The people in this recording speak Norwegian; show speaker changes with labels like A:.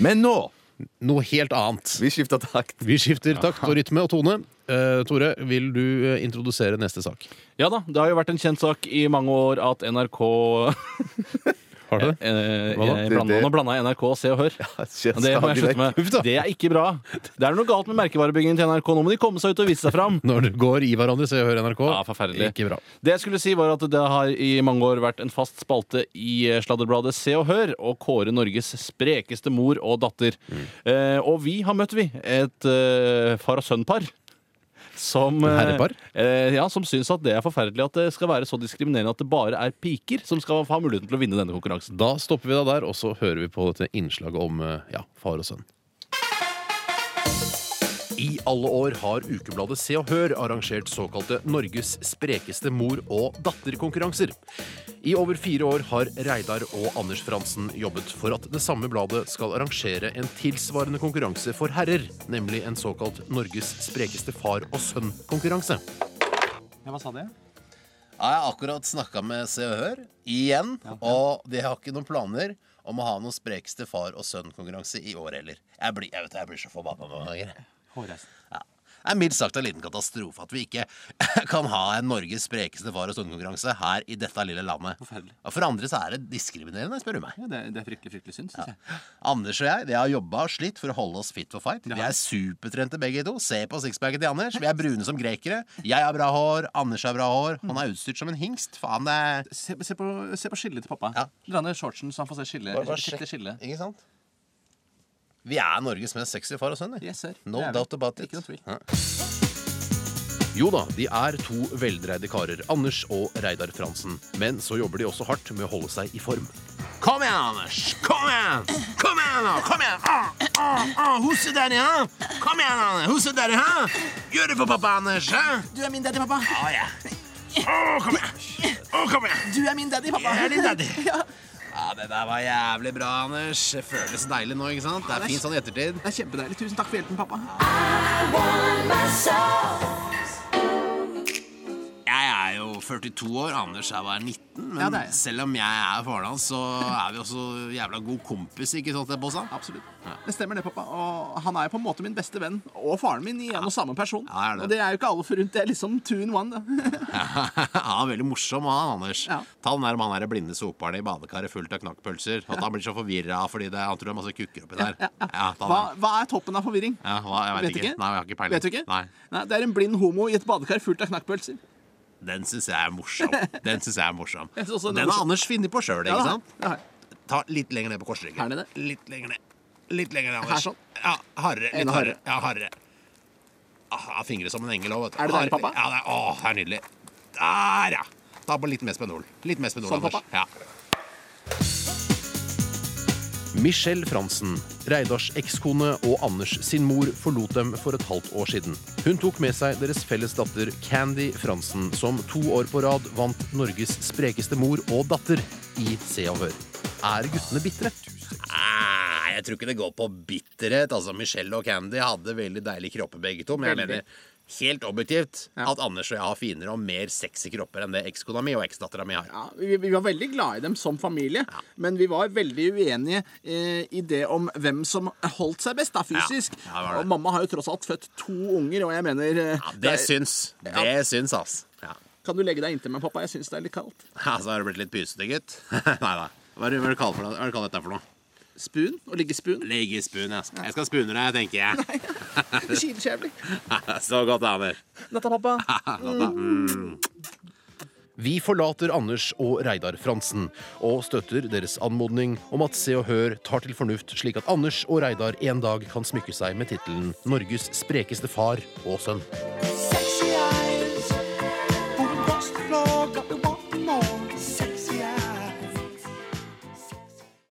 A: Men nå!
B: Noe helt annet.
A: Vi skifter takt.
B: Vi skifter takt og rytme og tone. Eh, Tore, vil du eh, introdusere neste sak?
C: Ja da, det har jo vært en kjent sak i mange år at NRK
B: Har du
C: eh, jeg
B: Hva da?
C: blandet-
A: Det- det-
C: Nå blanda jeg NRK og Se og Hør.
A: skjer
C: Det må jeg
A: stadig
C: slutte med.
B: Uff da.
C: Det er ikke bra. Det er noe galt med merkevarebyggingen til NRK. Nå må de komme seg ut og vise seg fram.
B: Eh, Når du går i hverandre, så jeg hører NRK.
C: Ja, forferdelig.
B: Ikke bra.
C: Det jeg skulle si var at det har i mange år vært en fast spalte i eh, sladderbladet Se og Hør å kåre Norges sprekeste mor og datter. Eh, og vi har møtt, vi, et eh, far og sønn-par. Som, eh,
B: Herrepar?
C: Eh, ja, som syns at det er forferdelig at det skal være så diskriminerende at det bare er piker som skal ha muligheten til å vinne denne konkurransen.
B: Da stopper vi deg der, og så hører vi på dette innslaget om eh, ja, far og sønn. I alle år har ukebladet Se og Hør arrangert såkalte Norges sprekeste mor- og datterkonkurranser. I over fire år har Reidar og Anders Fransen jobbet for at det samme bladet skal arrangere en tilsvarende konkurranse for herrer, nemlig en såkalt Norges sprekeste far og sønn-konkurranse.
D: Ja, hva sa de?
E: Ja, jeg har akkurat snakka med Se og Hør igjen, og de har ikke noen planer om å ha noen sprekeste far og sønn-konkurranse i år heller. Jeg blir, jeg vet, det, jeg blir så forbanna noen ganger. jeg.
D: Hårreisen.
E: Ja. Det er mildt sagt en liten katastrofe at vi ikke kan ha en Norges sprekeste far og sønn-konkurranse her i dette lille landet.
D: Forferdelig.
E: Og for andre så er det diskriminerende, spør du meg.
D: Ja, det, det er fryktelig, fryktelig synd, syns jeg.
E: Anders og jeg vi har jobba og slitt for å holde oss fit for fight. Vi er supertrente begge to. Se på sixpacken til Anders. Vi er brune som grekere. Jeg har bra hår, Anders har bra hår. Han er utstyrt som en hingst. Faen, det er
D: Se, se, på, se på skillet til pappa.
E: Ja.
D: Dra ned shortsen, så han får se skillet.
E: Bare- bare
D: Sjekk det
E: sjekk.
D: skillet.
E: Ikke sant? Vi er Norges mest sexy far og sønn. vi.
D: Yes, sir.
E: No
D: Det er vi.
E: doubt about it.
D: Ikke noe tvil.
E: Ja.
B: Jo da, de er to veldreide karer, Anders og Reidar Fransen. Men så jobber de også hardt med å holde seg i form.
E: Kom igjen, Anders! Kom igjen! Kom igjen, nå! Kom igjen! Ah, ah, ah. Husse der, ja! Kom igjen, Anders! Husse der, ja! Gjør det for pappa, Anders! Ja?
D: Du er min daddy, pappa.
E: Ah, ja. Å, kom igjen! Å, kom igjen!
D: Du er min daddy, pappa.
E: Jeg er din daddy. Ja, Det der var jævlig bra, Anders. Det føles deilig nå. ikke sant? Det er fint sånn i ettertid.
D: Det er kjempedeilig. Tusen takk for hjelpen, pappa.
E: Jeg er jo 42 år, Anders er bare 19. Men
D: Ja, det er jeg.
E: selv om jeg er faren hans, så er vi også jævla god kompis, ikke sant, Bossa?
D: Absolutt. Det stemmer det, pappa. Og han er jo på en måte min beste venn og faren min i en og samme person.
E: Ja, er det.
D: Og det er jo ikke alle forunt. Det er liksom two in one. Da.
E: Han er veldig morsom, han Anders.
D: Ja.
E: Ta den der med han der blinde soperen i badekaret fullt av knakkpølser. At han blir så forvirra fordi det, han tror det er masse kukker oppi der. Ja, ta
D: Hva,
E: den.
D: hva er toppen av forvirring?
E: Ja, hva, jeg vet, ikke. Nei, jeg har ikke peiling.
D: Vet du ikke?
E: Nei.
D: det er en blind homo i et badekar fullt av knakkpølser.
E: Den syns jeg er morsom. Den synes jeg er morsom.
D: Jeg synes også den
E: Den
D: er
E: har
D: morsom.
E: Anders funnet på sjøl,
D: Ja,
E: ikke
D: da.
E: sant?
D: Ja.
E: Ta litt lenger ned på korsryggen.
D: Her nede?
E: Litt lenger ned. Litt lenger ned, Anders.
D: Her sånn?
E: Ja, Hardere. Litt
D: Enda
E: hardere. Ja, hardere. Ah, jeg har fingre som en engel òg, vet du.
D: Er det deilig,
E: Hardere.
D: pappa?
E: Ja, det er, å, det er nydelig. Der, ja. Ta på litt mer spenol. Litt mer spenol,
D: Sånn,
E: Anders.
D: pappa?
E: Ja.
B: Michelle Fransen, Reidars ekskone og Anders sin mor forlot dem for et halvt år siden. Hun tok med seg deres felles datter Candy Fransen, som to år på rad vant Norges sprekeste mor og datter i Se og Hør. Er guttene bitre?
E: Nei, Ah, jeg tror ikke det går på bitterhet. Altså, Michelle og Candy hadde veldig deilige kropper, begge to. Men jeg
D: Veldig.
E: mener helt objektivt at Anders og jeg har finere og mer sexy kropper enn det ekskona mi og eksdattera mi har.
D: Ja, vi, vi var veldig glad i dem som familie, men vi var veldig uenige eh, i det om hvem som holdt seg best da, fysisk.
E: Ja, det var det.
D: Og mamma har jo tross alt født to unger, og jeg mener eh,
E: Ja,
D: det
E: det
D: er-
E: syns. Det syns, ass. Ja.
D: Kan du legge deg inntil meg, pappa? Jeg syns det er litt kaldt.
E: Ja, så har du blitt litt pysete, gutt. nei, nei. Hva er det hva er det du kaller for det- hva er det du kaller dette for noe?
D: Spoon? Å ligge i spoon?
E: Legespun, ja. Jeg skal spune deg, tenker jeg.
D: Det kiler så jævlig.
E: så godt, Anders.
D: Natta, pappa.
B: Vi forlater Anders og Reidar Fransen og støtter deres anmodning om at Se og Hør tar til fornuft, slik at Anders og Reidar en dag kan smykke seg med tittelen Norges sprekeste far og sønn.